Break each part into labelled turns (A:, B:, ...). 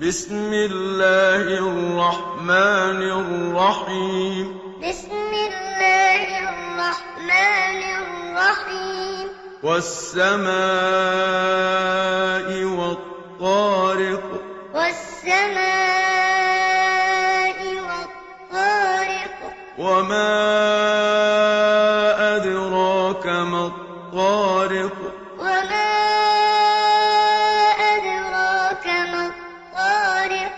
A: بِسْمِ اللَّهِ الرَّحْمَٰنِ الرَّحِيمِ
B: بسم الله الرحمن الرحيم
A: وَالسَّمَاءِ وَالطَّارِقِ
B: والسماء والطارق
A: وَمَا أَدْرَاكَ مَا الطَّارِقُ
B: وما أدراك ما الطارق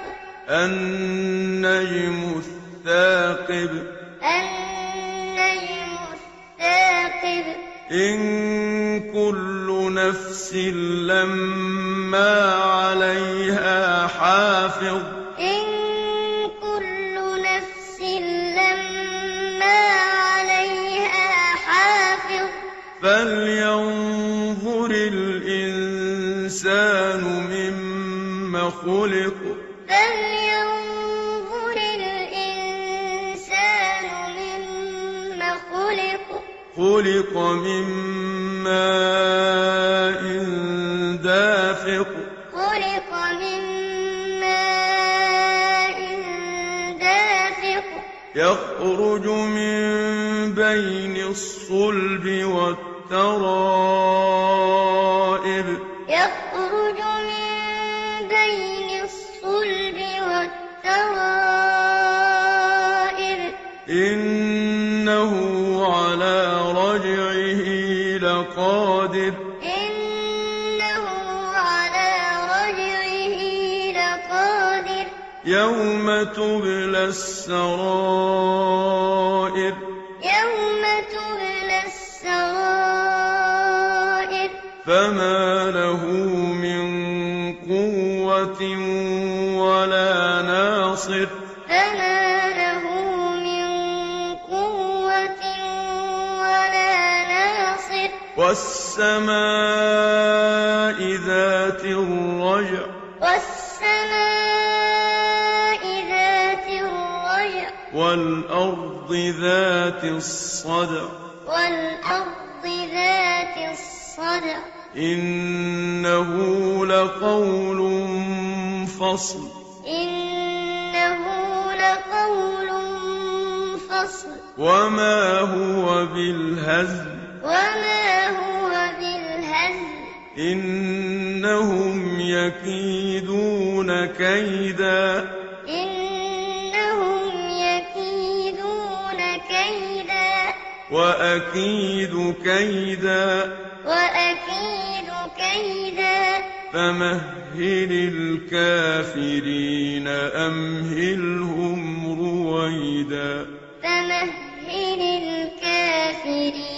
A: النَّجْمُ الثَّاقِبُ
B: النجم الثاقب
A: إِن كُلُّ نَفْسٍ لَّمَّا عَلَيْهَا حَافِظٌ
B: إن كل نفس لما عليها حافظ
A: فَلْيَنظُرِ الْإِنسَانُ مِمَّ خُلِقَ
B: فلينظر الإنسان مما خلق
A: خُلِقَ مِن مَّاءٍ دَافِقٍ
B: خلق من ماء دافق
A: يَخْرُجُ مِن بَيْنِ الصُّلْبِ وَالتَّرَائِبِ
B: يخرج من بين الصلب والترائب
A: إِنَّهُ عَلَىٰ رَجْعِهِ لَقَادِرٌ
B: إنه على رجعه لقادر
A: يَوْمَ تُبْلَى السَّرَائِرُ
B: يوم تبلى السرائر
A: فَمَا لَهُ مِن قُوَّةٍ وَلَا نَاصِرٍ
B: فما له من قوة ولا ناصر
A: وَالسَّمَاءِ ذَاتِ الرَّجْعِ
B: والسماء ذات الرجع
A: وَالْأَرْضِ ذَاتِ الصَّدْعِ
B: والأرض ذات الصدع
A: إِنَّهُ لَقَوْلٌ فَصْلٌ
B: إنه لقول فصل
A: وَمَا هُوَ بِالْهَزْلِ
B: وما هو بالهزل
A: إِنَّهُمْ يَكِيدُونَ كَيْدًا
B: إنهم يكيدون كيدا
A: وَأَكِيدُ كَيْدًا
B: وأكيد كيدا
A: فَمَهِّلِ الْكَافِرِينَ أَمْهِلْهُمْ رُوَيْدًا
B: فمهل الكافرين